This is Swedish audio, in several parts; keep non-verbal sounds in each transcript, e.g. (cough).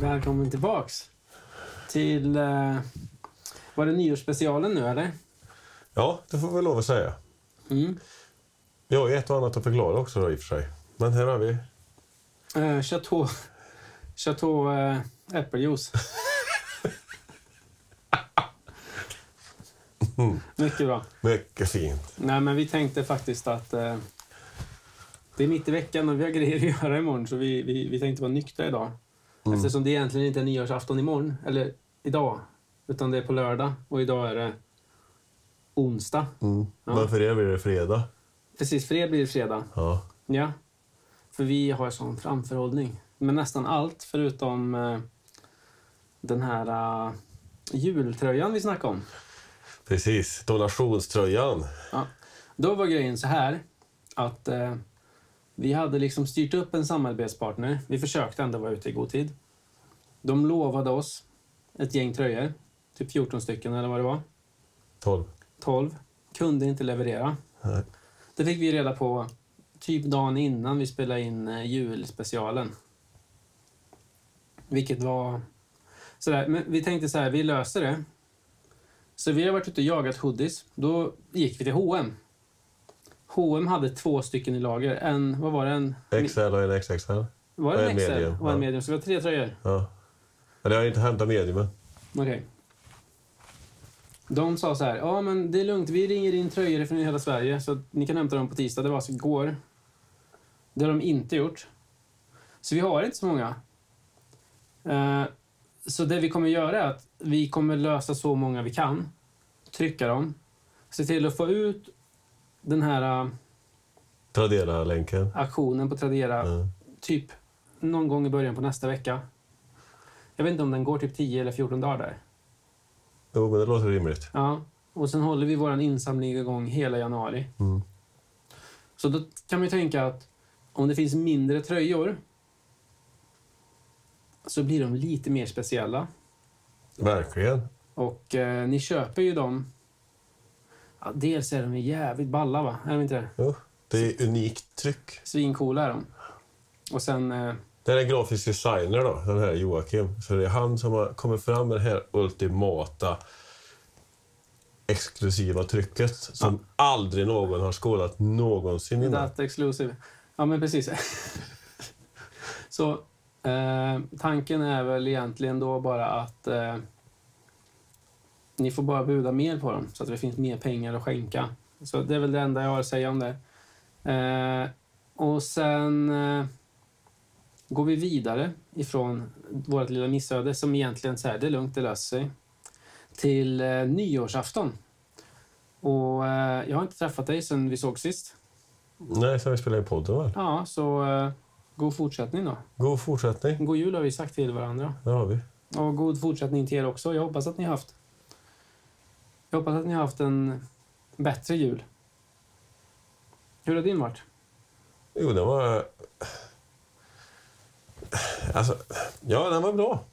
välkommen tillbaks till... Eh, var det nyårsspecialen nu eller? Ja, det får vi lov att säga. Mm. Vi har ju ett och annat att förklara också då i och för sig. Men här har vi... Eh, Chateau... Chateau eh, äppeljuice. Mycket bra. Mycket fint. Nej, men vi tänkte faktiskt att... Eh, det är mitt i veckan och vi har grejer att (laughs) göra imorgon så vi, vi, vi tänkte vara nyktra idag. Eftersom det egentligen inte är nyårsafton imorgon, eller idag, utan det är på lördag och idag är det onsdag. Ja. Men för er blir det fredag. Precis, för er blir det fredag. Ja. Ja. För vi har sån framförhållning. Men nästan allt förutom eh, den här eh, jultröjan vi snackade om. Precis. Donationströjan. Ja. Då var grejen så här att eh, vi hade liksom styrt upp en samarbetspartner. Vi försökte ändå vara ute i god tid. De lovade oss ett gäng tröjor, typ 14 stycken eller vad det var. 12. 12. Kunde inte leverera. Nej. Det fick vi reda på typ dagen innan vi spelade in eh, julspecialen. Vilket var... Sådär. Men vi tänkte så här, vi löser det. Så vi har varit ute och jagat hoodies. Då gick vi till H&M. H&M hade två stycken i lager. En, vad var det? En, XL och en XXL. var det en och en XL medium, och en ja. medium. Så vi har tre tröjor. Ja. Men det har ju inte hämtat mediumen. Okej. De sa så här, ja men det är lugnt, vi ringer in tröjor från hela Sverige så att ni kan hämta dem på tisdag. Det var alltså igår. Det har de inte gjort. Så vi har inte så många. Eh, så det vi kommer göra är att vi kommer lösa så många vi kan. Trycka dem. Se till att få ut den här eh, Tradera-länken. aktionen på Tradera Ja. typ någon gång i början på nästa vecka. Jag vet inte om den går typ 10 eller 14 dagar där. Jo, men det låter rimligt. Ja, och sen håller vi vår insamling igång hela januari. Mm. Så då kan man ju tänka att om det finns mindre tröjor så blir de lite mer speciella. Verkligen. Och eh, ni köper ju dem. Ja, dels är de ju jävligt balla, va? Är de inte det? Jo. Det är unikt tryck. Svincoola är de. Och sen... Eh, Det här är en grafisk designer då, den här Joakim. Så det är han som har kommit fram med det här ultimata exklusiva trycket som aldrig någon har skådat någonsin innan. That exclusive. Ja, men precis. så eh, tanken är väl egentligen då bara att eh, ni får bara buda mer på dem så att det finns mer pengar att skänka. Så det är väl det enda jag har att säga om det. Eh, och sen eh, går vi vidare ifrån vårt lilla missöde som egentligen så här, det är lugnt, det löser sig. Till eh, nyårsafton. Och eh, jag har inte träffat dig sedan vi såg sist. Nej, sen vi spelade in podden väl? Ja, så eh, god fortsättning då. God fortsättning. God jul har vi sagt till varandra. Det har vi. Och god fortsättning till er också. Jag hoppas att ni har haft... Jag hoppas att ni har haft en bättre jul. Hur har din varit? Jo, den var... Alltså, ja, den var bra.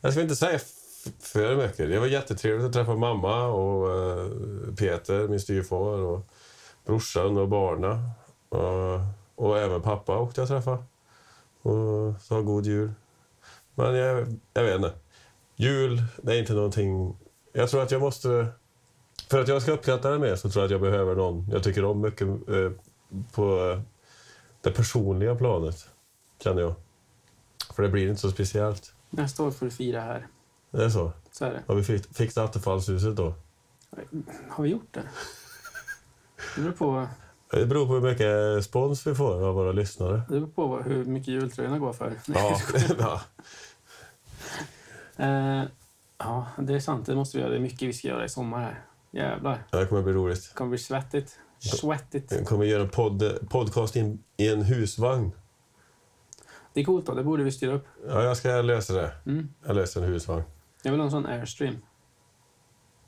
Jag ska inte säga f- för mycket. Det var jättetrevligt att träffa mamma och eh, Peter, min styvfar, och brorsan och barna. Och, och även pappa åkte jag träffa. Och sa god jul. Men jag, jag vet inte. Jul, det är inte någonting... Jag tror att jag måste... För att jag ska uppskatta det mer så tror jag att jag behöver någon jag tycker om mycket eh, på eh, det personliga planet, känner jag. För det blir inte så speciellt. Nästa år får du fira här. Det är så. Så är det. Har vi fick- fixat attefallshuset då? Har vi gjort det? Det beror på, Det beror på hur mycket spons vi får av våra lyssnare. det beror på hur mycket jultröjorna går för. Ja, (laughs) ja. Eh, ja, det är sant. Det måste vi göra. Det är mycket vi ska göra i sommar här. Jävlar. det här kommer bli roligt. Det kommer bli svettigt. Svettigt. Vi kommer göra en podd, podcast in, i en husvagn. Det är coolt då. Det borde vi styra upp. Ja, jag ska lösa det. Mm. Jag löser en husvagn. Jag vill ha en sån airstream.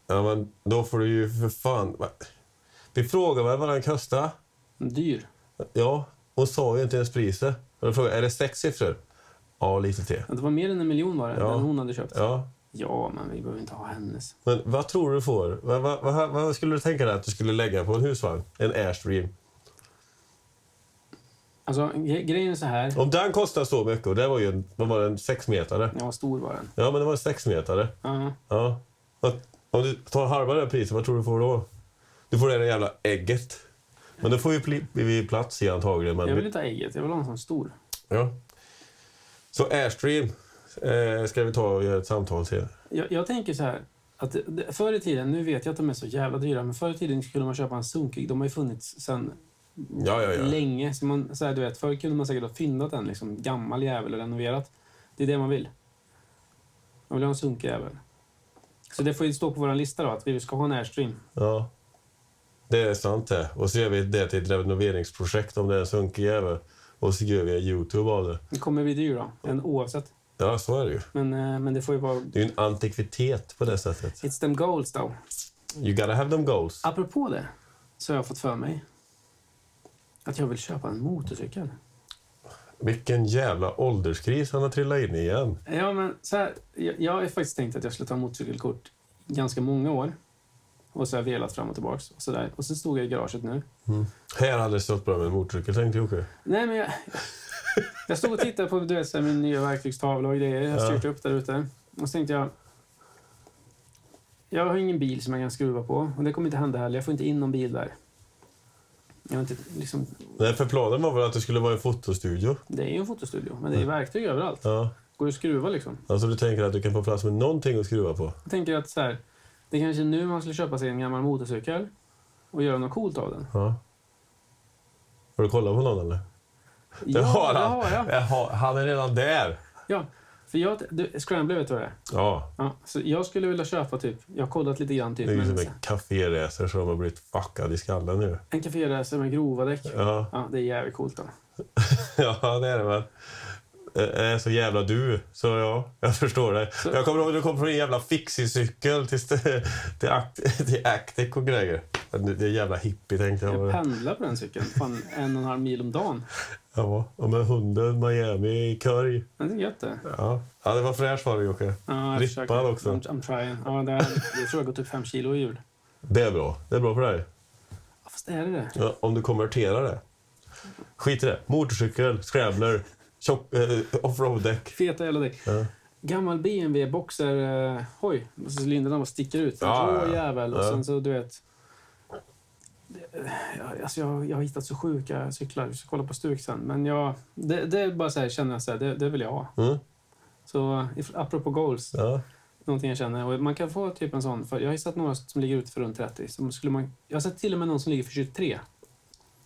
Ja, men då får du ju för fan... va? Vi frågade väl vad den kostade? Dyr. Ja, hon sa ju inte ens priset. Och då frågade jag, är det sex siffror? Ja, lite till. Det var mer än en miljon var det, Ja. den hon hade köpt. Ja. Ja, men vi behöver inte ha hennes. Men vad tror du får? Vad, vad, vad, vad skulle du tänka dig att du skulle lägga på en husvagn? En Airstream? Alltså, gre- grejen är så här. Om den kostar så mycket, och det var ju en, vad var det, en sexmetare. Ja, vad stor var den? Ja, men det var en sexmetare. Ja. Ja. Vad- Om du tar halva det här priset, vad tror du får då? Du får det där jävla ägget. Men då får vi, pli- vi plats i antagligen. Jag Men vill inte ha ägget, jag vill ha en sån stor. ja. Så Airstream eh, ska vi ta och göra ett samtal till. Jag, jag tänker så här. Att det- det, förr i tiden, nu vet jag att de är så jävla dyra, men förr i tiden skulle man köpa en sunkig. De har ju funnits sedan Ja, ja, ja. länge. Så man, så här, du vet, förr kunde man säkert ha fyndat en liksom, gammal jävel och renoverat. Det är det man vill. Man vill ha en sunkig jävel. Så det får ju stå på vår lista då, att vi ska ha en Airstream. Ja. Det är sant det. Och så gör vi det till ett renoveringsprojekt om det är en sunkig jävel. Och så gör vi en Youtube av det. Det kommer bli dyr då, en, oavsett. Ja, så är det ju. Men, eh, men det får ju vara... Det är ju en antikvitet på det sättet. It's them goals då. You gotta have them goals. Apropå det, så har jag fått för mig att jag vill köpa en motorcykel. Vilken jävla ålderskris han har trillat in i igen. Ja, men så här, jag, jag har ju faktiskt tänkt att jag skulle ta motorcykelkort ganska många år. Och så har jag velat fram och tillbaks. Och så, där. Och så stod jag i garaget nu. Här hade det stått bra med en motorcykel, tänkte Jocke. Nej, men jag, jag stod och tittade på du vet, så här, min nya verktygstavla och grejer. Jag har Ja. styrt upp där ute. Och så tänkte jag... Jag har ingen bil som jag kan skruva på. Och det kommer inte hända heller. Jag får inte in någon bil där. Jag har inte, liksom, Nej, för planen var väl att det skulle vara en fotostudio? det är ju en fotostudio, men det är Mm. ju verktyg överallt. Ja. Går ju att skruva liksom. Alltså du tänker att du kan få plats med någonting att skruva på? Jag tänker att så här, det kanske är nu man skulle köpa sig en gammal motorcykel och göra något coolt av den. Ja. Har du kollat på någon eller? Det har det han. har jag. Jaha, han är redan där! Ja, för jag, du, Scrambler vet du vad det är? Ja, Ja, så jag skulle vilja köpa typ, jag har kollat lite grann typ, det är ju som men, en kaféracer som har blivit fuckad i skallen nu. en kaféracer med grova däck. Ja, Ja, det är jävligt coolt då. (laughs) ja det är det väl. Eh, eh, Så jävla du, så ja, jag förstår dig. Jag kommer ihåg du kom från en jävla fixicykel till, st- (laughs) till, Act- (laughs) till Actic och grejer. Det är jävla hippie tänkte jag. Jag pendlar på den cykeln, fan en och en halv mil om dagen. Ja, och med hunden Miami i korg. Men det är gött det. Ja. ja, det var fräscht var det Jocke. Ja, jag Rippad försöker. också. I'm, I'm trying. Ja, det, är, jag tror jag gått upp fem kilo i jul. Det är bra. Det är bra för dig. Ja, fast är det det? Ja, om du konverterar det. Skit i det. Motorcykel, scrabbler, tjock, eh, offroad-däck. Feta jävla däck. Ja. Gammal BMW boxer, eh, hoj, och så cylindrarna bara sticker ut. En Ja, grå ja, ja. jävel och Ja. sen så du vet. Det- eh, Alltså jag, jag har hittat så sjuka cyklar. Vi ska kolla på stuk sen. Men jag, det, det är bara så här, känner jag så här, det, det vill jag ha. Mm. Så if, apropå goals, Ja. någonting jag känner. Och man kan få typ en sån. För jag har ju sett några som ligger ute för runt 30. Som skulle man, jag har sett till och med någon som ligger för 23.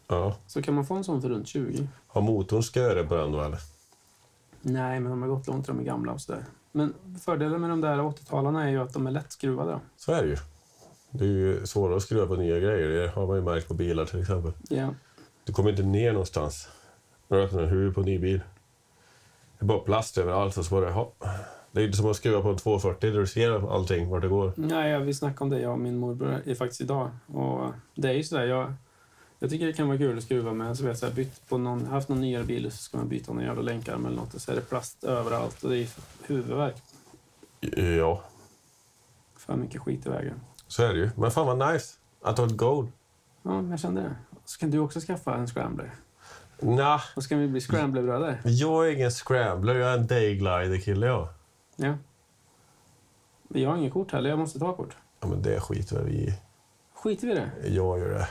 ja. Så kan man få en sån för runt 20? Har motorn sköre på den då eller? Nej, men de har gått långt, de är gamla och sådär. Men fördelen med de där 80-talarna är ju att de är lätt skruvade. Så är det ju. Det är ju svårare att skruva på nya grejer. Det har man ju märkt på bilar till exempel. Ja. Du kommer inte ner någonstans när du öppnar en huv på en ny bil. Det är bara plast överallt och så bara, jaha. Det är ju inte som att skruva på en 240 där du ser allting, vart det går. Nej, ja, vi snackade om det, jag och min morbror, är faktiskt idag. Och det är ju sådär, jag, jag tycker det kan vara kul att skruva med. Så vet jag, bytt på någon, haft någon nyare bil och så ska man byta någon jävla länkarm eller något och så är det plast överallt och det är huvudvärk. Ja, För mycket skit i vägen. så är det ju. Men fan vad nice att ha ett goal. Ja, men jag kände det. Så kan du också skaffa en scrambler. Nah, Och så kan vi bli scramblerbröder. jag är ingen scrambler, jag är en dayglider-kille jag. Ja. Men jag har inget kort heller, jag måste ta kort. Ja, men det skiter väl vi i. Skiter vi i (laughs) det? Jag gör det.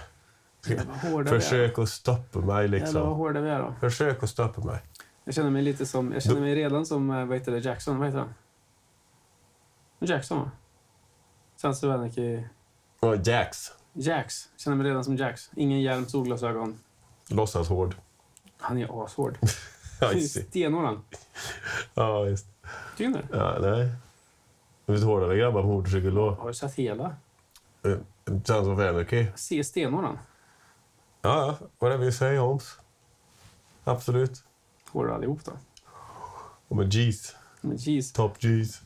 Jävlar, vad hårda vi är. Försök att stoppa mig Jävlar vad liksom. hårda vi är då. Försök att stoppa mig. Jag känner mig lite som, jag känner mig redan som, eh, vad heter det, Jackson, vad heter han? Jackson va? Sen så var det i Och Jax, Jax. Jag känner mig redan som Jax. Ingen hjälm, solglasögon. låtsas hård. Han är ashård. (laughs) (laughs) Ja, just- Stenhård han. ja, just. Tycker du inte det? Ja, nej. Vet du hårdare grabbar på motorcykel då? Har du sett hela? Eh, Sons of Anarchy. Se stenhård han. Ja, ja. Whatever you say, Holmes. Absolut. Hårdare allihop då. Och med G's. Men jeez. Top G's.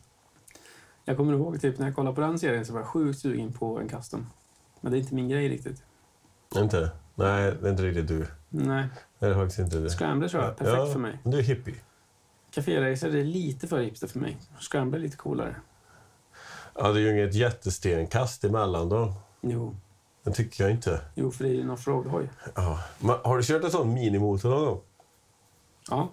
Jag kommer ihåg typ när jag kollade på den serien så var jag sjukt sugen på en custom. Men det är inte min grej riktigt. Inte? Nej, det är inte riktigt du. Nej. Det är faktiskt inte det. Scrambler tror jag. Perfekt Ja, för mig. Du är hippie. Café-racer är lite för hipster för mig. Scrambler är lite coolare. Ja, det är ju inget jättestenkast emellan då. Jo. Det tycker jag inte. Jo, för det är ju en offroad-hoj. Ja. Men, har du kört en sån minimotor någon gång? Ja.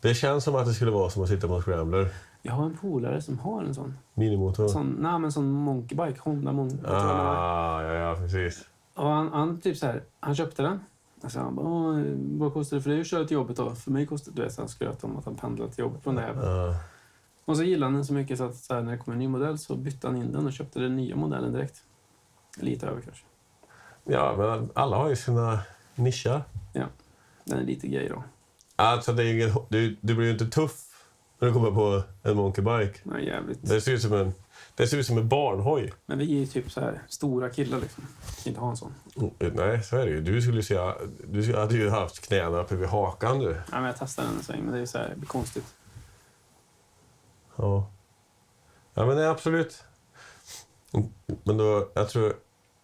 Det känns som att det skulle vara som att sitta på en scrambler. Jag har en polare som har en sån. Minimotor. sån nej, men sån monkeybike. Honda Monkey. Ah, ja, ja, precis. Och han, han, typ så här, han köpte den. Alltså han bara, "Åh, vad kostar det för dig att köra till jobbet då? För mig kostar det, du vet, han skröt om att han pendlade till jobbet från det. här. Ah. Och så gillade han den så mycket så att så här, när det kom en ny modell så bytte han in den och köpte den nya modellen direkt. Lite över kanske. Ja, men alla har ju sina nischer. Den är lite gay då. Alltså, det är ju ingen, du, du blir ju inte tuff när du kommer på en monkeybike. Den är jävligt. Det ser ut som en, det ser ut som en barnhoj. Men vi är ju typ så här stora killar liksom. Kan inte ha en sån. Mm, Nej, så är det ju. Du, skulle ju säga, du skulle- hade ju haft knäna uppe vid hakan du. Nej, men jag testade den en sväng men det är ju så här, det blir konstigt. Ja. Ja, men nej, absolut. Mm, Men då, jag tror,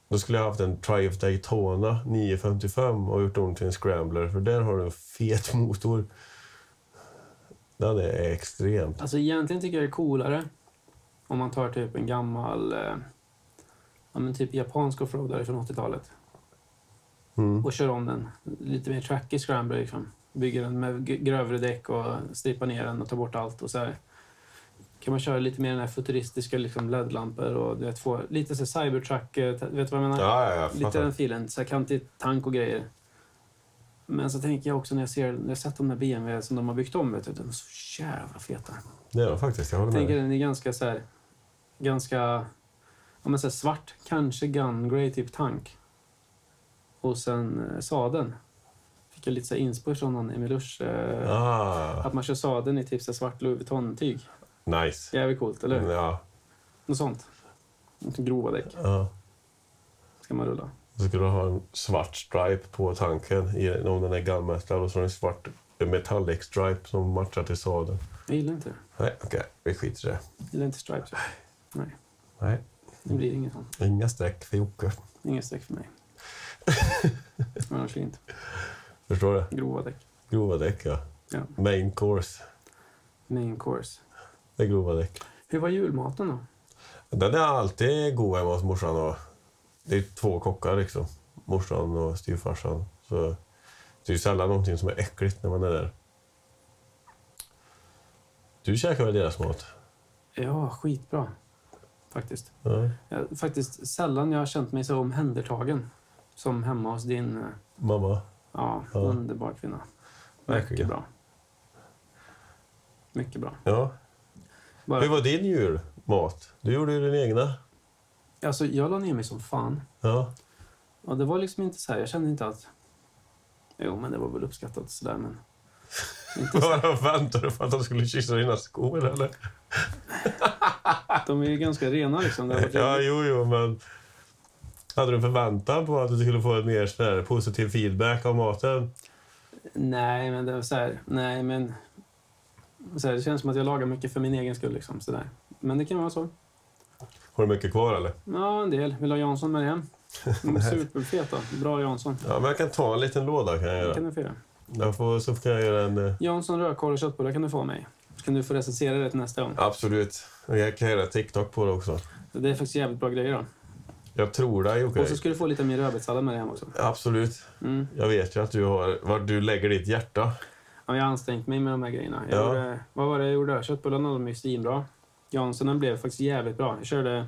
då skulle jag haft en Triumph Daytona 955 och gjort om till en Scrambler, för där har du en fet motor. Den är extremt. Alltså egentligen tycker jag det är coolare om man tar typ en gammal, eh, ja men typ japansk offroadare från 80-talet. Mm. och kör om den. Lite mer trackig scrambler liksom. Bygger den med g- grövre däck och stripar ner den och tar bort allt och så här. Kan man köra lite mer den här futuristiska liksom LED-lampor och du vet, få lite så här cybertruck, eh, t- vet du vad jag menar? Ja, ja, jag lite fattar. den filen, så här kantig tank och grejer. Men så tänker jag också när jag ser, när jag sett de där BMW som de har byggt om, vet du, de är så jävla feta. Det är den faktiskt, jag håller Jag med tänker dig. den är ganska så här, ganska, ja men så här svart, kanske gun grey typ tank. Och sen eh, sadeln. Fick jag lite så här inspiration från någon Emil Usch, eh, Ah, Att man kör sadeln i typ så här svart Louis Vuitton-tyg. nice. Jävligt coolt, eller hur? Ja, Något sånt. Lite grova däck ja. ska man rulla. Då skulle du ha en svart stripe på tanken, i- om den är gammelmästad, och så har du en svart metallic stripe som matchar till sadeln. Jag gillar inte det. Nej, okej, vi skiter i det. Jag gillar inte stripes. Nej, Nej, det blir inget sånt. inga streck för Jocke. Inget streck för mig. Men Annars inte. Förstår du? Grova däck. Grova däck, ja. Ja. Main course, Main course. det är grova däck. Hur var julmaten då? Den är alltid god hemma hos morsan. Och det är två kockar, liksom. Morsan och styvfarsan. Så det är ju sällan någonting som är äckligt när man är där. Du käkar väl deras mat? Ja, skitbra. Faktiskt. Ja. Jag, faktiskt sällan jag har känt mig så omhändertagen som hemma hos din eh, Mamma? ja, Ja. underbara kvinna. Mycket Verkligen. bra. Mycket bra. Ja. Hur Bara, var din julmat? Du gjorde ju din egna. alltså, jag la ner mig som fan. Ja. Och det var liksom inte så här, jag kände inte att... Jo, men det var väl uppskattat sådär, men... Inte så, Bara väntade du på att han skulle kyssa dina skor, eller? de är ju ganska rena liksom. Det har varit Ah! (laughs) Ja, jobbigt. jo, jo, men... Hade du en förväntan på att du skulle få en mer sån här positiv feedback av maten? Nej, men det var så här, nej, men... Så här, det känns som att jag lagar mycket för min egen skull liksom, sådär. Men det kan vara så. Har du mycket kvar, eller? Ja, en del. Vill du ha Jansson med dig (laughs) hem? De är Superfeta. Bra Jansson. Ja, men jag kan ta en liten låda. Kan jag Det kan göra. du få göra. Jag får, så kan jag göra en... eh, Jansson rödkorv och köttbullar kan du få av mig. Så kan du få recensera det till nästa gång. Absolut. Och Jag kan göra TikTok på det också. Det är faktiskt jävligt bra grejer då. Jag tror dig, Jocke. Och så ska du få lite mer rödbetssallad med dig hem också. Absolut. Mm. Jag vet ju att du har... Vart du lägger ditt hjärta. Ja, jag har ansträngt mig med de här grejerna. Jag Ja. gjorde, vad var det jag gjorde? Köttbullarna de är ju svinbra. Janssonen blev faktiskt jävligt bra. Jag körde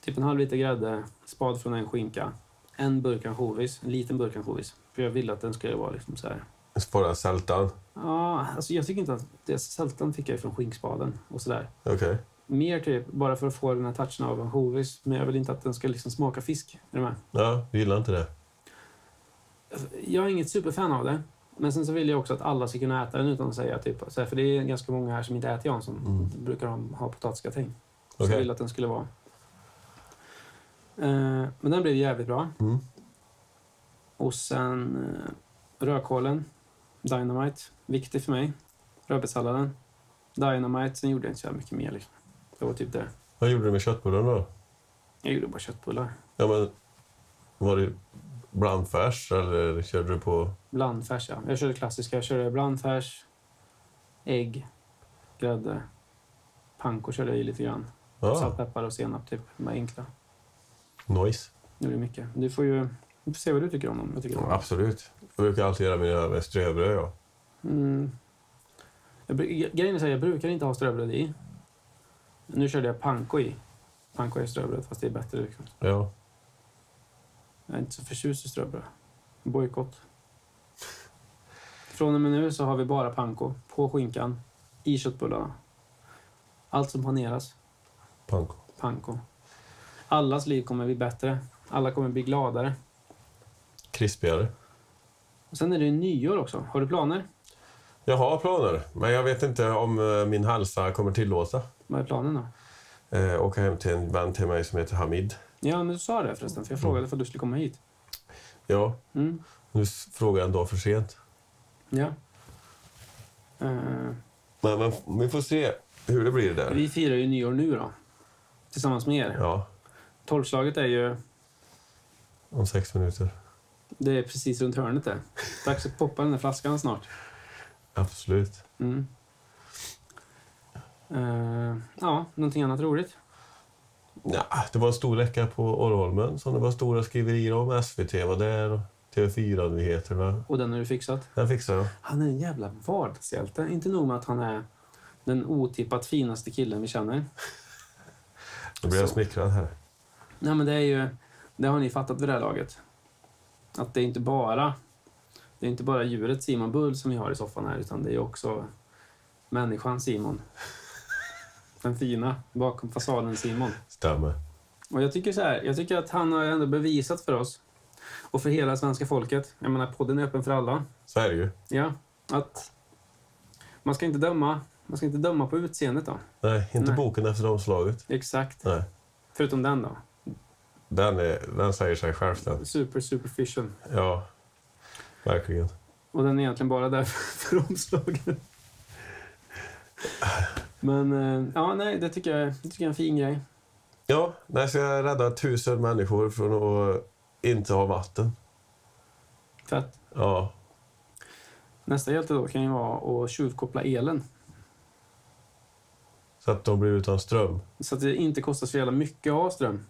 typ en halv liter grädde, spad från en skinka, en burk ansjovis, en liten burk ansjovis. För jag ville att den skulle vara liksom så här. Spara sältan. Ja, alltså jag tycker inte att det sältan fick jag från skinkspaden och sådär. Okej. Mer typ bara för att få den här touchen av ansjovis, men jag vill inte att den ska liksom smaka fisk. Är du med? Alltså, Ja, du gillar inte det? Jag är inget superfan av det. Men sen så vill jag också att alla ska kunna äta den utan att säga typ, så här, för det är ganska många här som inte äter Jansson. Mm. Brukar de ha potatisgratäng. Så jag Okej. ville att den skulle vara. Eh, men den blev jävligt bra. Mm. Och sen eh, rödkålen, Dynamite, viktig för mig. Rödbetssalladen, Dynamite. Sen gjorde jag inte så jävla mycket mer. Liksom. Det var typ det. Vad gjorde du med köttbullarna då? Jag gjorde bara köttbullar. Ja, men... Var det blandfärs eller körde du på... Blandfärs, ja. Jag körde klassiska. Jag körde blandfärs, ägg, grädde, panko körde jag i lite grann. Salt, Ja, peppar och senap, typ. De här enkla. nice. Nu är det mycket. Du får ju... Vi får se vad du tycker om dem. Jag tycker om absolut. Jag brukar alltid göra mina med ströbröd. Ja. Mm. Jag, bru- grejen är så här, jag brukar inte ha ströbröd i. Nu körde jag panko i. Panko är ströbröd, fast det är bättre. Liksom. Ja. Jag är inte så förtjust i ströbröd. Bojkott. Från och med nu så har vi bara panko på skinkan, i köttbullarna. Allt som paneras, Panko. panko. Allas liv kommer bli bättre. Alla kommer bli gladare. Krispigare. Och sen är det ju nyår också. Har du planer? Jag har planer, men jag vet inte om eh, min hälsa kommer tillåta. Vad är planen då? Eh, åka hem till en vän till mig som heter Hamid. Ja, men du sa det förresten, för jag frågade för att du skulle komma hit. Ja, Mm. nu s- frågar jag en dag för sent. Ja. Eh, Men, men f- vi får se hur det blir där. vi firar ju nyår nu då. Tillsammans med er. Ja, Tolvslaget är ju... om sex minuter. Det är precis runt hörnet det. Dags att poppa den där flaskan snart. Absolut. Mm. Eh, ja, någonting annat roligt? Ja, det var en stor läcka på Orrholmen som det var stora skriverier om. SVT var där och TV4-nyheterna. Och den har du fixat? Den fixade jag. Han är en jävla vardagshjälte. Inte nog med att han är den otippat finaste killen vi känner. Då blir jag Så. smickrad här. Nej, men det är ju... Det har ni fattat vid det här laget. Att det är inte bara... Det är inte bara djuret Simon Bull som vi har i soffan här, utan det är också människan Simon. Den fina, bakom fasaden Simon. Stämmer. Och jag tycker så här, jag tycker att han har ändå bevisat för oss och för hela svenska folket, jag menar podden är öppen för alla, Så är det ju. ja, att man ska inte döma, man ska inte döma på utseendet då. Nej, inte Nej. boken efter omslaget. Exakt. Nej. Förutom den då. Den, är, den säger sig själv den. Super superficial. Ja, verkligen. Och den är egentligen bara där (laughs) för omslagen. Men eh, ja, nej, det tycker jag, det tycker jag är en fin grej. Ja, när ska jag rädda tusen människor från att inte ha vatten? För att Ja, nästa hjälte då kan ju vara att tjuvkoppla elen. så att de blir utan ström. Så att det inte kostar så jävla mycket att ha ström.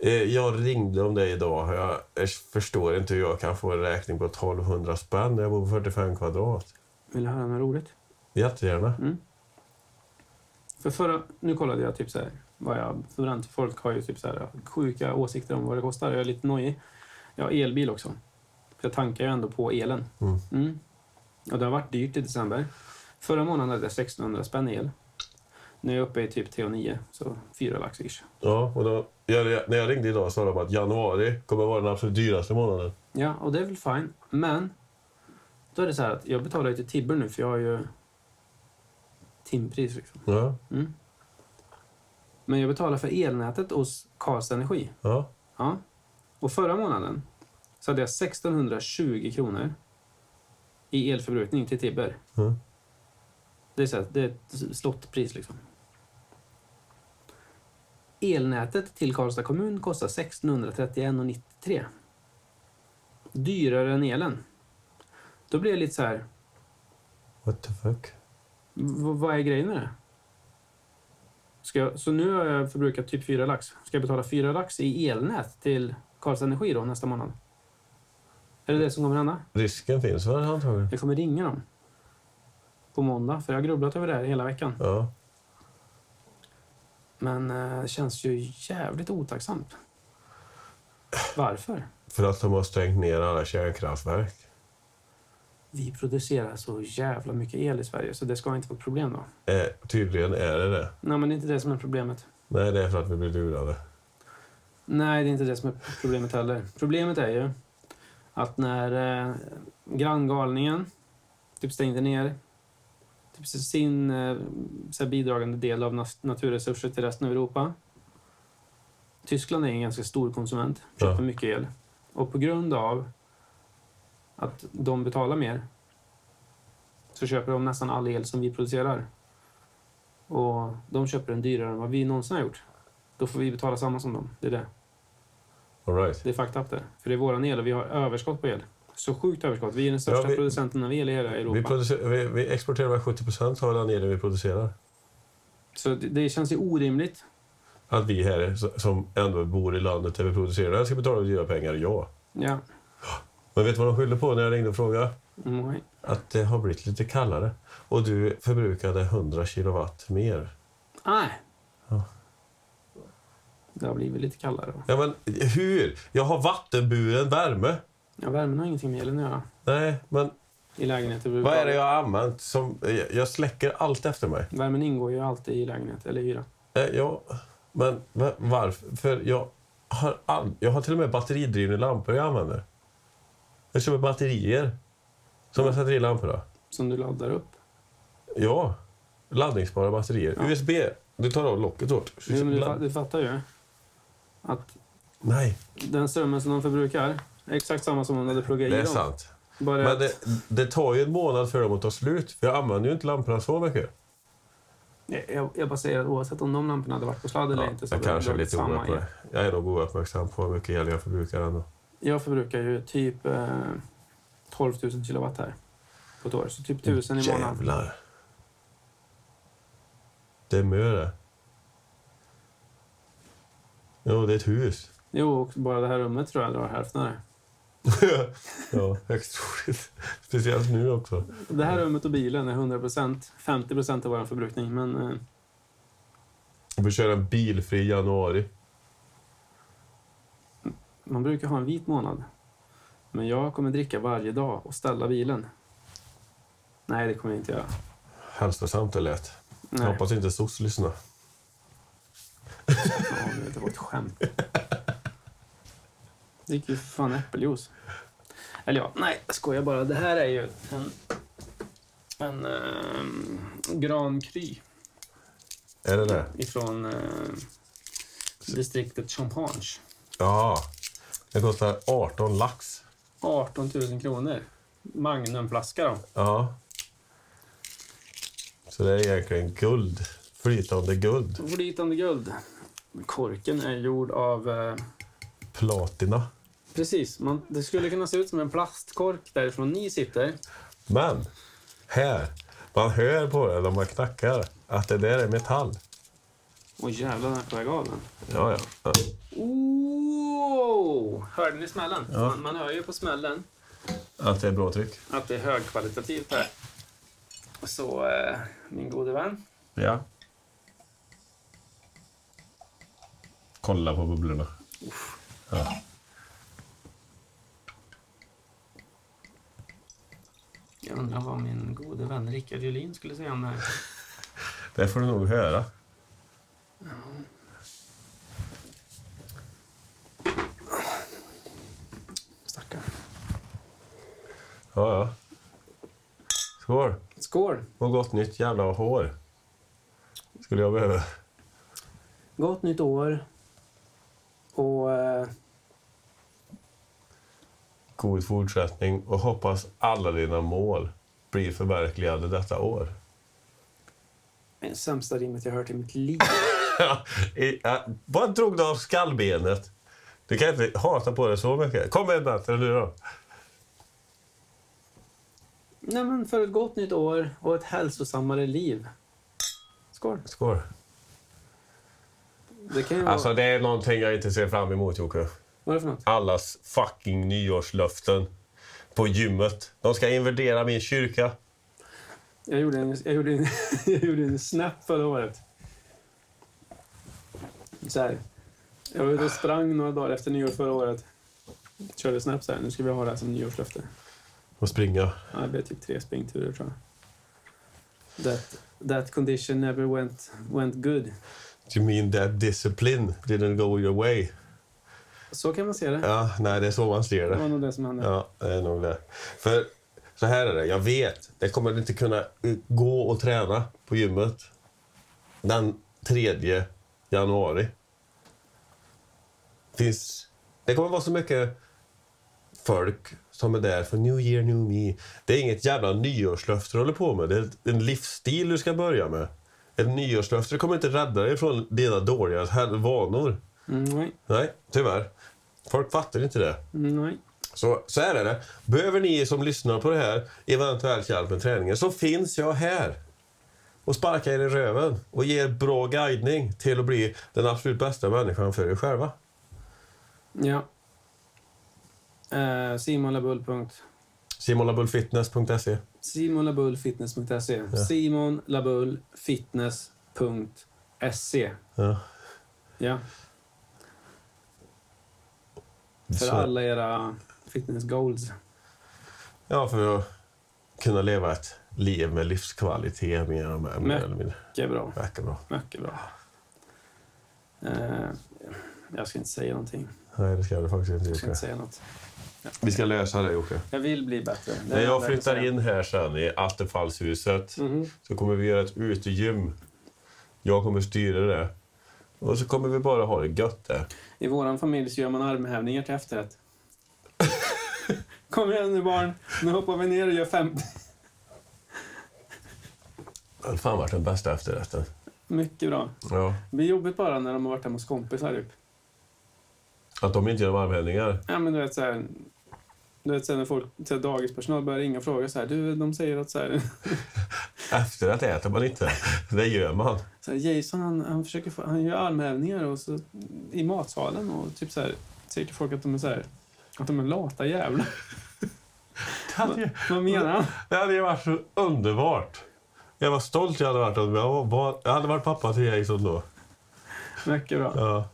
Eh, Jag ringde om det idag. Jag jag förstår inte hur jag kan få en räkning på 1200 spänn när jag bor på 45 kvadrat. Vill du höra något roligt? Jättegärna. Mm. För förra, nu kollade jag typ så här, vad jag förbränt. Folk har ju typ så här sjuka åsikter om vad det kostar. Jag är lite nojig. Jag har elbil också. Jag tankar ju ändå på elen. Mm. Och det har varit dyrt i december. Förra månaden hade jag 1600 spänn i el. Nu är jag uppe i typ 3,9 så 4 lax ish. Ja, och då, jag, när jag ringde idag sa de att januari kommer vara den absolut dyraste månaden. Ja, och det är väl fine. Men då är det så här att jag betalar ju till Tibber nu för jag har ju timpris liksom. Ja, Mm. Men jag betalar för elnätet hos Karls Energi. ja. Ja. Och förra månaden så hade jag 1620 kronor i elförbrukning till Tibber. Mm. Det är, så här, det är ett slottpris liksom. Elnätet till Karlstad kommun kostar 1631,93. Dyrare än elen. Då blir jag lite så här, What the fuck? v- vad är grejen med det? Ska jag, så nu har jag förbrukat typ 4 lax. Ska jag betala 4 lax i elnät till Karlstad Energi då nästa månad? Är det det som kommer hända? Risken finns väl antagligen? Jag kommer ringa dem på måndag, för jag har grubblat över det här hela veckan. Ja. Men eh, det känns ju jävligt otacksamt. Varför? För att de har stängt ner alla kärnkraftverk. Vi producerar så jävla mycket el i Sverige, så det ska inte vara ett problem då. Eh, tydligen är det det. Nej, men det är inte det som är problemet. Nej, det är för att vi blir lurade. Nej, det är inte det som är problemet heller. Problemet är ju att när eh, granngalningen typ stängde ner typ sin eh, så här bidragande del av nas- naturresurser till resten av Europa. Tyskland är en ganska stor konsument, köper Ja. mycket el. Och på grund av att de betalar mer så köper de nästan all el som vi producerar. Och de köper den dyrare än vad vi någonsin har gjort. Då får vi betala samma som dem. Det är det. All right. Det är fucked up det. För det är våran el och vi har överskott på el. Så sjukt överskott. Vi är den största Ja, vi- producenten av el i hela Vi, Europa. producer- vi, vi exporterar bara 70 procent av den elen vi producerar. Så det, det känns ju orimligt. Att vi här, så- som ändå bor i landet där vi producerar den, ska betala dyra pengar, ja. Ja. Men vet du vad de skyllde på när jag ringde och frågade? Nej. Att det har blivit lite kallare. Och du förbrukade 100 kilowatt mer. Nej. Ja. Det har blivit lite kallare. då. Ja, men hur? Jag har vattenburen värme. Ja, värmen har ingenting med elen att göra Nej, men i lägenheter. vad är det jag har använt? Som, jag- jag släcker allt efter mig. Värmen ingår ju alltid i lägenhet eller hyra. Eh, Ja, men va- varför? För jag har, all, jag har till och med batteridrivna lampor jag använder. Jag köper batterier som jag sätter i lamporna. Som du laddar upp. Ja, laddningsbara batterier. Ja. USB. Du tar av locket åt. Jo, men du, fa- du fattar ju att Nej, den strömmen som de förbrukar är exakt samma som om du hade pluggat i det är dem. sant. Bara Men att- det, det tar ju en månad för dem att ta slut. För jag använder ju inte lamporna så mycket. Jag- Jag, jag bara säger att oavsett om de lamporna hade varit på sladd eller Ja, inte så jag hade det kanske är varit lite samma el. ouppmärksam. Jag är nog ouppmärksam på hur mycket el jag förbrukar ändå. Jag förbrukar ju typ eh, 12 000 kilowatt här på ett år. Så typ 1000 i månaden. Jävlar. Det är mö det. Jo, det är ett hus. (laughs) Jo, och bara det här rummet tror jag drar hälften av det. ja, högst troligt. Speciellt nu också. Det här rummet och bilen är 100 50 av vår förbrukning. Men eh, Vi får köra en bilfri januari. man brukar ha en vit månad. Men jag kommer dricka varje dag och ställa bilen. Nej, det kommer jag inte göra. Hälsosamt det lät. Jag Nej. hoppas inte SOS lyssnar. Ja, men det var ett skämt. (laughs) Det gick ju för fan äppeljuice. Eller ja, nej, jag skojar bara. Det här är ju en, en ehm, grankry Är det det? ifrån ehm, distriktet Champagne. Ja. Det kostar 18 lax. 18 000 kronor. Magnumflaska då. Ja. Så det är egentligen guld. Flytande guld. Flytande guld. Korken är gjord av... Eh, Platina. precis, man, det skulle kunna se ut som en plastkork därifrån ni sitter. Men här, man hör på det när man knackar att det där är metall. Åh jävlar, den är på väg av den. Ja, ja. ja. Oh! Hörde ni smällen? Ja. Man, man hör ju på smällen Att det är bra tryck. att det är högkvalitativt här. Så, eh, min gode vän. Ja. Kolla på bubblorna. Ja. Jag undrar vad min gode vän Rickard Julin skulle säga om det här. Det får du nog höra. Stackarn. Ja, ja. Skål! Skål! Och gott nytt jävla hår. Skulle jag behöva. Gott nytt år. Och eh, God fortsättning och hoppas alla dina mål blir förverkligade detta år. det sämsta rimmet jag hört i mitt liv. I, ja, vad drog du av skallbenet? Du kan inte hata på det så mycket. Kom med en bättre nu då. Nej men för ett gott nytt år och ett hälsosammare liv. Skål! Skål. Det kan ju vara... Alltså det är någonting jag inte ser fram emot Jocke. Vad är det för något? Allas fucking nyårslöften på gymmet. De ska invadera min kyrka. Jag gjorde en, jag gjorde en, (laughs) jag gjorde en snap förra året. Så här. Jag var ute och sprang några dagar efter nyår förra året. Körde snap så här. Nu ska vi ha det här som nyårslöfte. Och springa. Ja, det blev typ tre springturer tror jag. That, that condition never went, went good. You mean that discipline didn't go your way? Så kan man se det. Ja, nej det är så man ser Det det. var nog det som hände. Ja, det är nog det. För så här är det, jag vet. Det kommer inte kunna ut- gå och träna på gymmet den 3 januari. Finns, det kommer vara så mycket folk som är där för new year, new me. Det är inget jävla nyårslöfte du håller på med. Det är ett- en livsstil du ska börja med. Ett nyårslöfte kommer inte rädda dig från dina dåliga här- vanor. Mm, nej, Nej, tyvärr. Folk fattar inte det. Mm, nej. Så, så här är det. Behöver ni som lyssnar på det här eventuellt hjälp med träningen så finns jag här. Och sparkar er i röven och ger bra guidning till att bli den absolut bästa människan för er själva. Ja. Eh, Simonlabull. punkt- Simonlabullfitness.se. Simonlabullfitness.se. Simonlabullfitness.se. Ja. E. Ja, för Så- alla era fitness goals. Ja, för att kunna leva ett liv med livskvalitet mer och mer. mer Men- eller mindre. Mycket bra. Verkar bra. Mycket bra. Eh, jag ska inte säga någonting. Nej, det ska du faktiskt Jag inte ska inte Jocke. säga något. Vi ska lösa det Jocke. Jag vill bli bättre. Det är När det jag enda kan flyttar säga. in här sen i Attefallshuset Mhm. så kommer vi göra ett utegym. Jag kommer styra det. Och så kommer vi bara ha det gött där. I vår familj så gör man armhävningar till (laughs) efterrätt. Kom igen nu barn, nu hoppar vi ner och gör 50. Det har fan varit den bästa efterrätten. Mycket bra. Ja. Det blir jobbigt bara när de har varit hemma hos kompisar. Typ. Att de inte gör armhävningar. Ja, men du vet, så här, du vet så här, när folk, så här, dagispersonal börjar ringa och fråga så här, du, de säger att så här, Efterrätt äter man inte. Det gör man. så här, Jason han, han försöker få, han gör armhävningar och så, i matsalen och typ så här, säger folk att de är så här, att de är lata jävlar. (laughs) Det hade ju- Vad menar han? det hade ju varit så underbart. Jag var stolt jag hade varit om jag, var barn- jag hade varit pappa till Jason då. Mycket bra. Ja.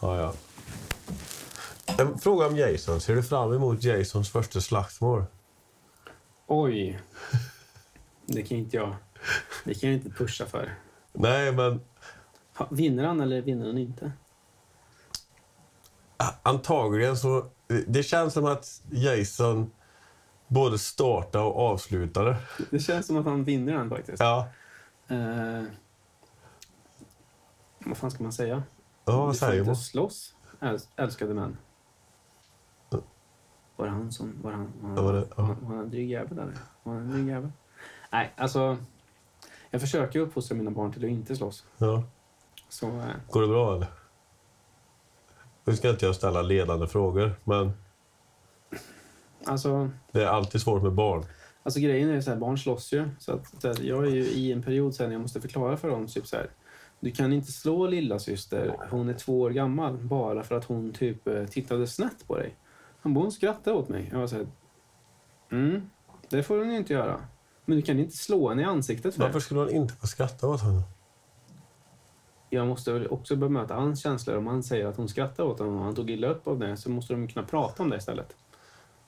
Ja, ja. En fråga om Jason. Ser du fram emot Jasons första slagsmål? Oj. Det kan inte jag. Det kan jag inte pusha för. Nej, men Ha, Vinner han eller vinner han inte? antagligen så... Det känns som att Jason både startade och avslutade. Det känns som att han vinner den faktiskt. Ja. Eh, vad fan ska man säga? Ja, Du vad får säger inte man? slåss, äls- älskade män. Ja. Var det han som... Var han, var han, Ja, var det- ja. var han en dryg jävel eller? Var han en dryg jävel? Nej, alltså... Jag försöker ju uppfostra mina barn till att inte slåss. Ja. Så, eh, Går det bra, eller? Nu ska inte jag ställa ledande frågor, men alltså, det är alltid svårt med barn. alltså grejen är ju så här, barn slåss ju. Så att, så att jag är ju i en period sen när jag måste förklara för dem typ så här. Du kan inte slå lilla syster. hon är två år gammal, bara för att hon typ eh, tittade snett på dig. Han bara, hon skrattade åt mig. Jag var så här, mm, det får hon ju inte göra. Men du kan inte slå henne i ansiktet för det. Varför skulle hon inte få skratta åt honom? Jag måste väl också bemöta hans känslor. Om han säger att hon skrattade åt honom och han tog illa upp av det så måste de ju kunna prata om det istället.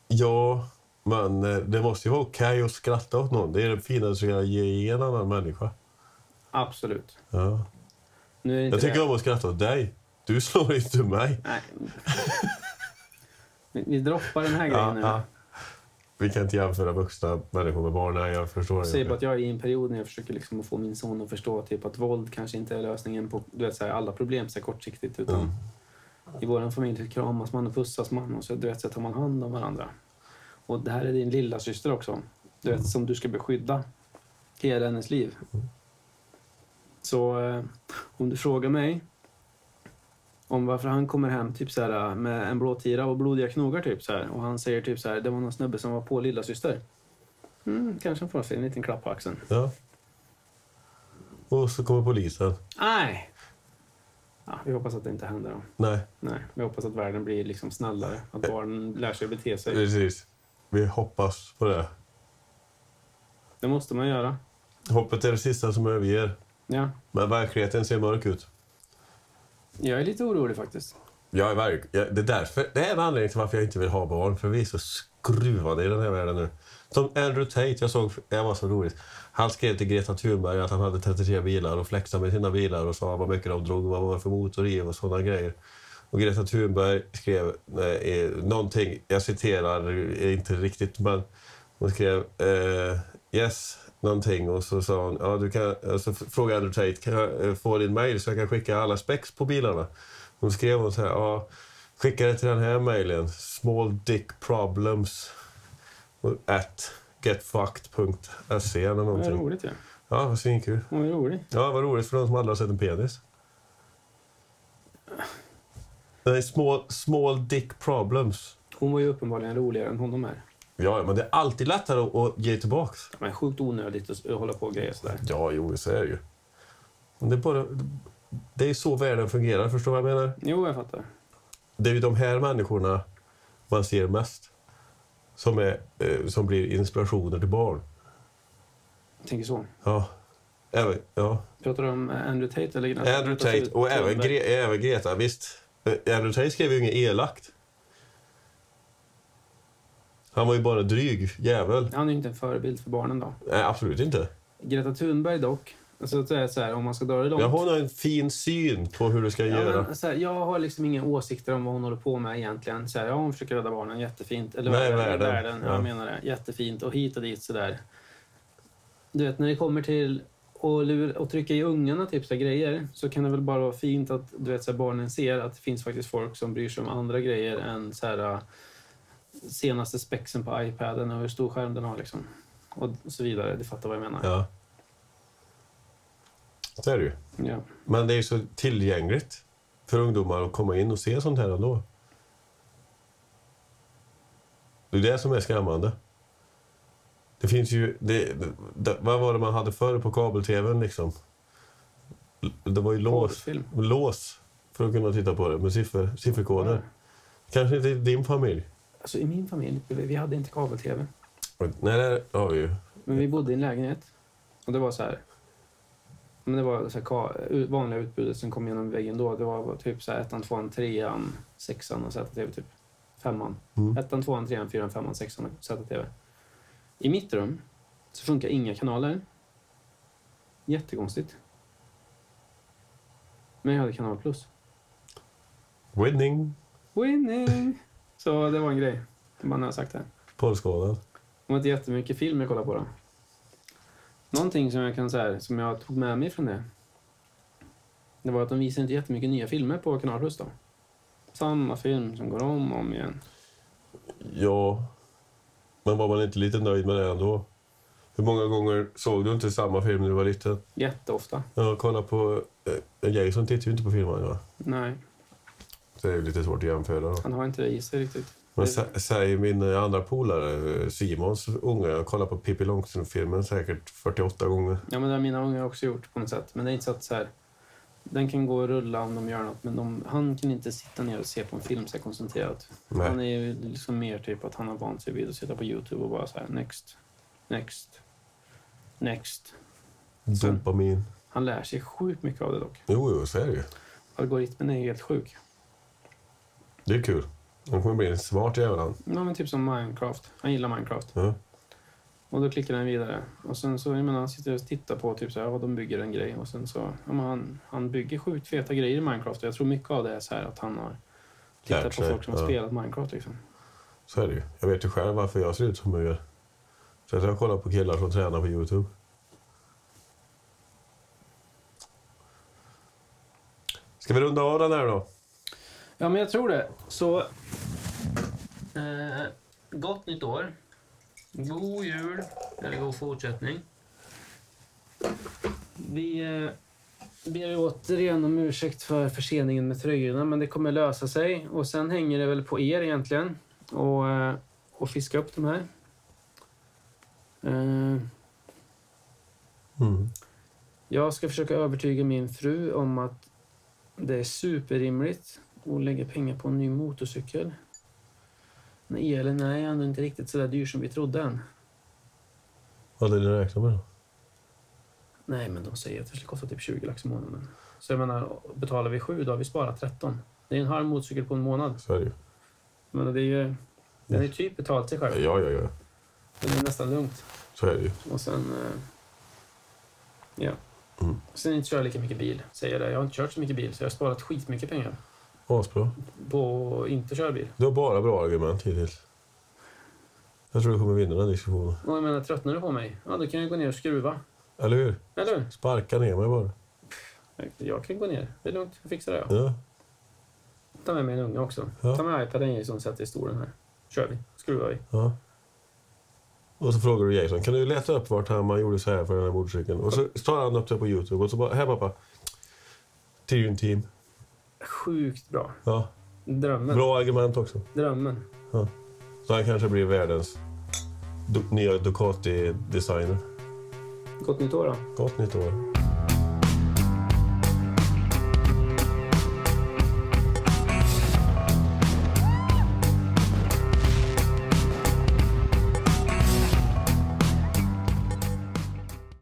Ja, men eh, det måste ju vara okej att skratta åt någon. Det är det finaste du kan ge i en annan människa. Absolut. Ja. Nu är det inte Jag det. tycker om att skratta åt dig. Du slår inte mig. Nej. Vi, vi droppar den här grejen (laughs) Ja, nu. ja. Vi kan inte jämföra vuxna människor med barn. Nej, jag förstår Jag säger bara det. att jag är i en period när jag försöker liksom att få min son att förstå typ att våld kanske inte är lösningen på du vet, så här, alla problem så här, kortsiktigt. Utan Mm. I vår familj så kramas man och pussas man och så, du vet, så tar man hand om varandra. Och det här är din lilla syster också, du vet, som du ska beskydda hela hennes liv. Så eh, om du frågar mig om varför han kommer hem typ så här, med en blå tira och blodiga knogar typ, så här, och han säger typ så här, det var någon snubbe som var på lilla syster. Mm, kanske han får sig en liten klapp på axeln. Ja. Och så kommer polisen. Nej! Ja, vi hoppas att det inte händer. Då. Nej, Nej, vi hoppas att världen blir liksom snällare. Att barnen lär sig bete sig. precis. Vi hoppas på det. Det måste man göra. Hoppet är det sista som överger. Ja. Men verkligheten ser mörk ut. Jag är lite orolig faktiskt. Jag är verk... jag, det, är därför, det är en anledning till varför jag inte vill ha barn. För vi är så skruvade i den här världen nu. Som Andrew Tate, jag såg, det var så roligt. Han skrev till Greta Thunberg att han hade 33 bilar och flexade med sina bilar och sa vad mycket de drog, vad var det för motorrev och sådana grejer. Och Greta Thunberg skrev eh, eh, någonting, jag citerar eh, inte riktigt, men hon skrev eh, yes, någonting och så sa hon, ja du kan, eh, så f- frågade Andrew Tate, kan jag eh, få din mail så jag kan skicka alla specs på bilarna? Hon skrev hon så här, ja, skicka det till den här mailen, small dick problems at getfucked.se eller Det är någonting. roligt ju. Ja. Ja, vad svinkul. Hon är rolig. Ja, vad roligt för de som aldrig har sett en penis. Nej, small, small dick problems. Hon var ju uppenbarligen roligare än honom är. Ja, ja, men det är alltid lättare att, att ge tillbaka. Men sjukt onödigt att s- hålla på och grejer sådär. Ja, jo, så är det ju. Men det är bara... Det är så världen fungerar, förstår du vad jag menar? Jo, jag fattar. Det är ju de här människorna man ser mest. Som, är, eh, som blir inspirationer till barn. Jag tänker så. Ja. Även, ja. Pratar du om eh, Andrew Tate? Eller Greta- Alltså, Andrew Tate och även, Thunberg? Gre även Greta, visst. Eh, Andrew Tate skrev ju inget elakt. Han var ju bara dryg jävel. Han är ju inte en förebild för barnen då. Nej, absolut inte. Greta Thunberg dock. Alltså att säga så här, om man ska dra det långt. Ja, hon har en fin syn på hur du ska Ja, göra. men, så här, jag har liksom inga åsikter om vad hon håller på med egentligen. Så här, ja, hon försöker rädda barnen, jättefint. Eller Nej, världen, världen. världen. Ja. Jag menar det. Jättefint och hit och dit sådär. Du vet, när det kommer till och, lur, och trycka i ungarna typ så här grejer så kan det väl bara vara fint att du vet, så här, barnen ser att det finns faktiskt folk som bryr sig om andra grejer än så här, äh, senaste spexen på iPaden och hur stor skärm den har liksom. Och så vidare. Du fattar vad jag menar. Ja. Så är det ju. Ja. Men det är ju så tillgängligt för ungdomar att komma in och se sånt här ändå. Det är det som är skrämmande. Det finns ju... Det, det, vad var det man hade förr på kabel-tvn liksom? Det var ju lås, Porrfilm. lås för att kunna titta på det med siffror, sifferkoder. Ja. Kanske inte i din familj. Alltså i min familj, vi hade inte kabel-tv. Nej, det har vi ju. Men vi bodde i en lägenhet. Och det var så här. Men det var så här, ka- u- vanliga utbudet som kom genom väggen då. Det var typ så här ettan, tvåan, trean, sexan och ZTV typ. Femman. Mm. Ettan, tvåan, trean, fyran, femman, sexan och ZTV. I mitt rum så funkar inga kanaler. Jättekonstigt. Men jag hade kanal plus. Winning, Winning! Så det var en grej. Man har sagt det. porrskådad. Det var inte jättemycket film jag kollade på då. Någonting som jag kan säga, som jag tog med mig från det. Det var att de visade inte jättemycket nya filmer på Kanal Plus då. Samma film som går om och om igen. Ja, men var man inte lite nöjd med det ändå? Hur många gånger såg du inte samma film när du var liten? Jätteofta. Ja, kolla på... Eh, Jason tittar ju inte på filmen. Ja. Nej, Så det är ju lite svårt att jämföra. Då. han har inte det i sig riktigt. Men sä- säger min eh, andra polare, eh, Simons unge, jag kollar på Pippi Långstrump-filmen säkert 48 gånger. Ja, men det har mina ungar också gjort på något sätt. Men det är inte så att så här, den kan gå och rulla om de gör något, men de, han kan inte sitta ner och se på en film så här koncentrerat. Nej. Han är ju liksom mer typ att han har vant sig vid att sitta på Youtube och bara så här next, next, next. Sen- Dopamin. Han lär sig sjukt mycket av det dock. Jo, jo, så är det ju. Algoritmen är helt sjuk. Det är kul. Han kommer bli en smart jävel han. Ja, men typ som Minecraft. Han gillar Minecraft. Ja. Och då klickar han vidare. Och sen så, jag menar, han sitter och tittar på typ så här, vad de bygger en grej. Och sen så, ja, men han, han bygger sjukt feta grejer i Minecraft. Och jag tror mycket av det är så här att han har Lärt tittat på sig, folk som har ja. spelat Minecraft liksom. Så är det ju. Jag vet ju själv varför jag ser ut som jag gör. Så att jag kollar på killar som tränar på Youtube. Ska vi runda av den här då? Ja, men jag tror det. Så, eh, gott nytt år. God jul, eller god fortsättning. Vi eh, ber ju återigen om ursäkt för förseningen med tröjorna, men det kommer lösa sig. Och sen hänger det väl på er egentligen och, eh, och fiska upp de här. Eh, Mm. jag ska försöka övertyga min fru om att det är superrimligt att lägga pengar på en ny motorcykel. Men elen är ändå inte riktigt så där dyr som vi trodde än. Vad hade ni räknat med då? Nej, men de säger att det skulle kosta typ 20 lax i månaden. Så jag menar, betalar vi 7 då har vi sparat 13. Det är en halv motorcykel på en månad. Så är det ju. Men det är ju... Den är ju typ betalt sig själv. Ja, ja, ja. Det är nästan lugnt. Så är det ju. Och sen... eh, Ja. Mm. Sen inte köra lika mycket bil, säger jag det. Jag har inte kört så mycket bil, så jag har sparat skitmycket pengar Asbra. på att inte köra bil. Du har bara bra argument hittills. Jag tror du kommer vinna den diskussionen. Och jag menar, tröttnar du på mig, ja då kan jag gå ner och skruva. Eller hur? Eller hur? Sparka ner mig bara. Jag kan gå ner. Det är lugnt, jag fixar det. Jag. Ja. Ta med mig en unge också. Ja. Ta med iPaden Jason och sätt i stolen här. Kör vi. Skruvar vi. ja. Och så frågar du Jason, kan du leta upp vart han man gjorde så här för den här motorcykeln? Och så tar han upp det på Youtube och så bara, här pappa. Tyrion team. Sjukt bra. Ja. Drömmen. Bra argument också. Drömmen. Så han kanske blir världens du- nya Ducati-designer. Gott nytt år då. Gott nytt år.